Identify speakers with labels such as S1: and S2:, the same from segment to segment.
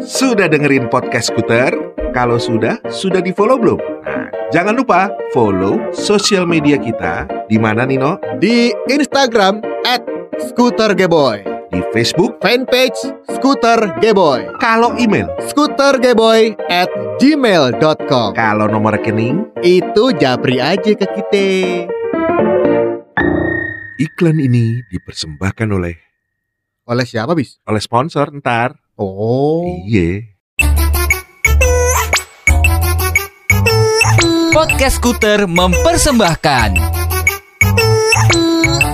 S1: Sudah dengerin podcast Skuter? Kalau sudah, sudah di follow belum? Nah, jangan lupa follow sosial media kita di mana Nino?
S2: Di Instagram at Scooter Geboy
S1: Di Facebook.
S2: Fanpage Scooter Geboy
S1: Kalau email,
S2: Scooter Geboy at gmail.com
S1: kalau nomor rekening,
S2: Itu japri aja ke kita
S1: iklan ini dipersembahkan oleh
S2: Oleh siapa bis?
S1: oleh sponsor ntar. Iya.
S2: Oh
S1: Iye.
S3: Podcast Skuter mempersembahkan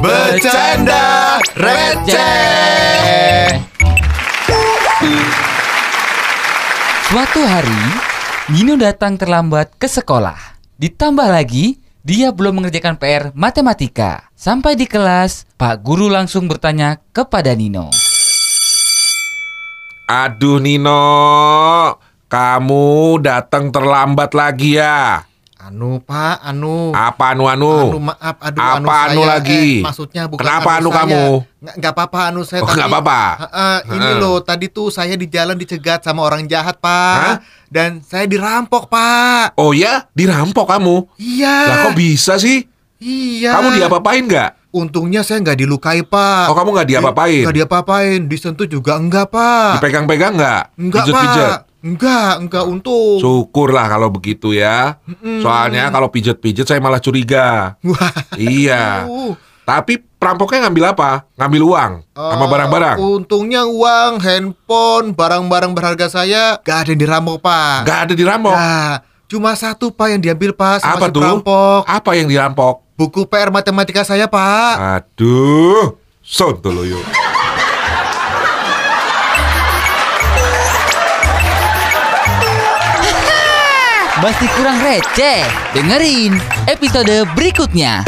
S1: Bercanda
S3: Receh. Suatu hari, Nino datang terlambat ke sekolah. Ditambah lagi, dia belum mengerjakan PR matematika. Sampai di kelas, Pak Guru langsung bertanya kepada Nino.
S4: Aduh Nino, kamu datang terlambat lagi ya.
S2: Anu pak, anu
S4: Apa anu
S2: Anu
S4: anu?
S2: maaf, aduh
S4: Apa
S2: saya.
S4: anu lagi?
S2: Eh, maksudnya bukan
S4: Kenapa anu
S2: saya.
S4: kamu?
S2: Nggak, nggak apa-apa anu saya
S4: Oh,
S2: tadi.
S4: nggak apa-apa.
S2: Heeh, ini
S4: Heeh.
S2: loh, tadi tuh saya di jalan dicegat sama orang jahat, Pak.
S4: Hah?
S2: Dan saya dirampok, Pak.
S4: Oh ya, dirampok kamu.
S2: Iya.
S4: Lah kok bisa sih?
S2: Iya.
S4: Kamu diapa-apain nggak?
S2: Untungnya saya nggak dilukai, Pak.
S4: Oh kamu nggak diapa-apain?
S2: Nggak diapa-apain, disentuh juga enggak, Pak.
S4: Dipegang-pegang nggak?
S2: Enggak,
S4: Pijet-pijet?
S2: Pak. Enggak, enggak untung.
S4: Syukurlah kalau begitu ya.
S2: Mm-mm.
S4: Soalnya kalau pijet-pijet saya malah curiga.
S2: Wah.
S4: iya.
S2: Uh,
S4: Tapi perampoknya ngambil apa? Ngambil uang sama
S2: eh,
S4: barang-barang.
S2: Untungnya uang, handphone, barang-barang berharga saya Gak ada yang dirampok pak
S4: Nggak ada dirampok.
S2: Nah, cuma satu pak yang diambil pak sama
S4: Apa
S2: si
S4: tuh?
S2: perampok.
S4: Apa yang dirampok?
S2: Buku PR matematika saya pak.
S4: Aduh, sontoloyo.
S3: Masih kurang receh? Dengerin episode berikutnya.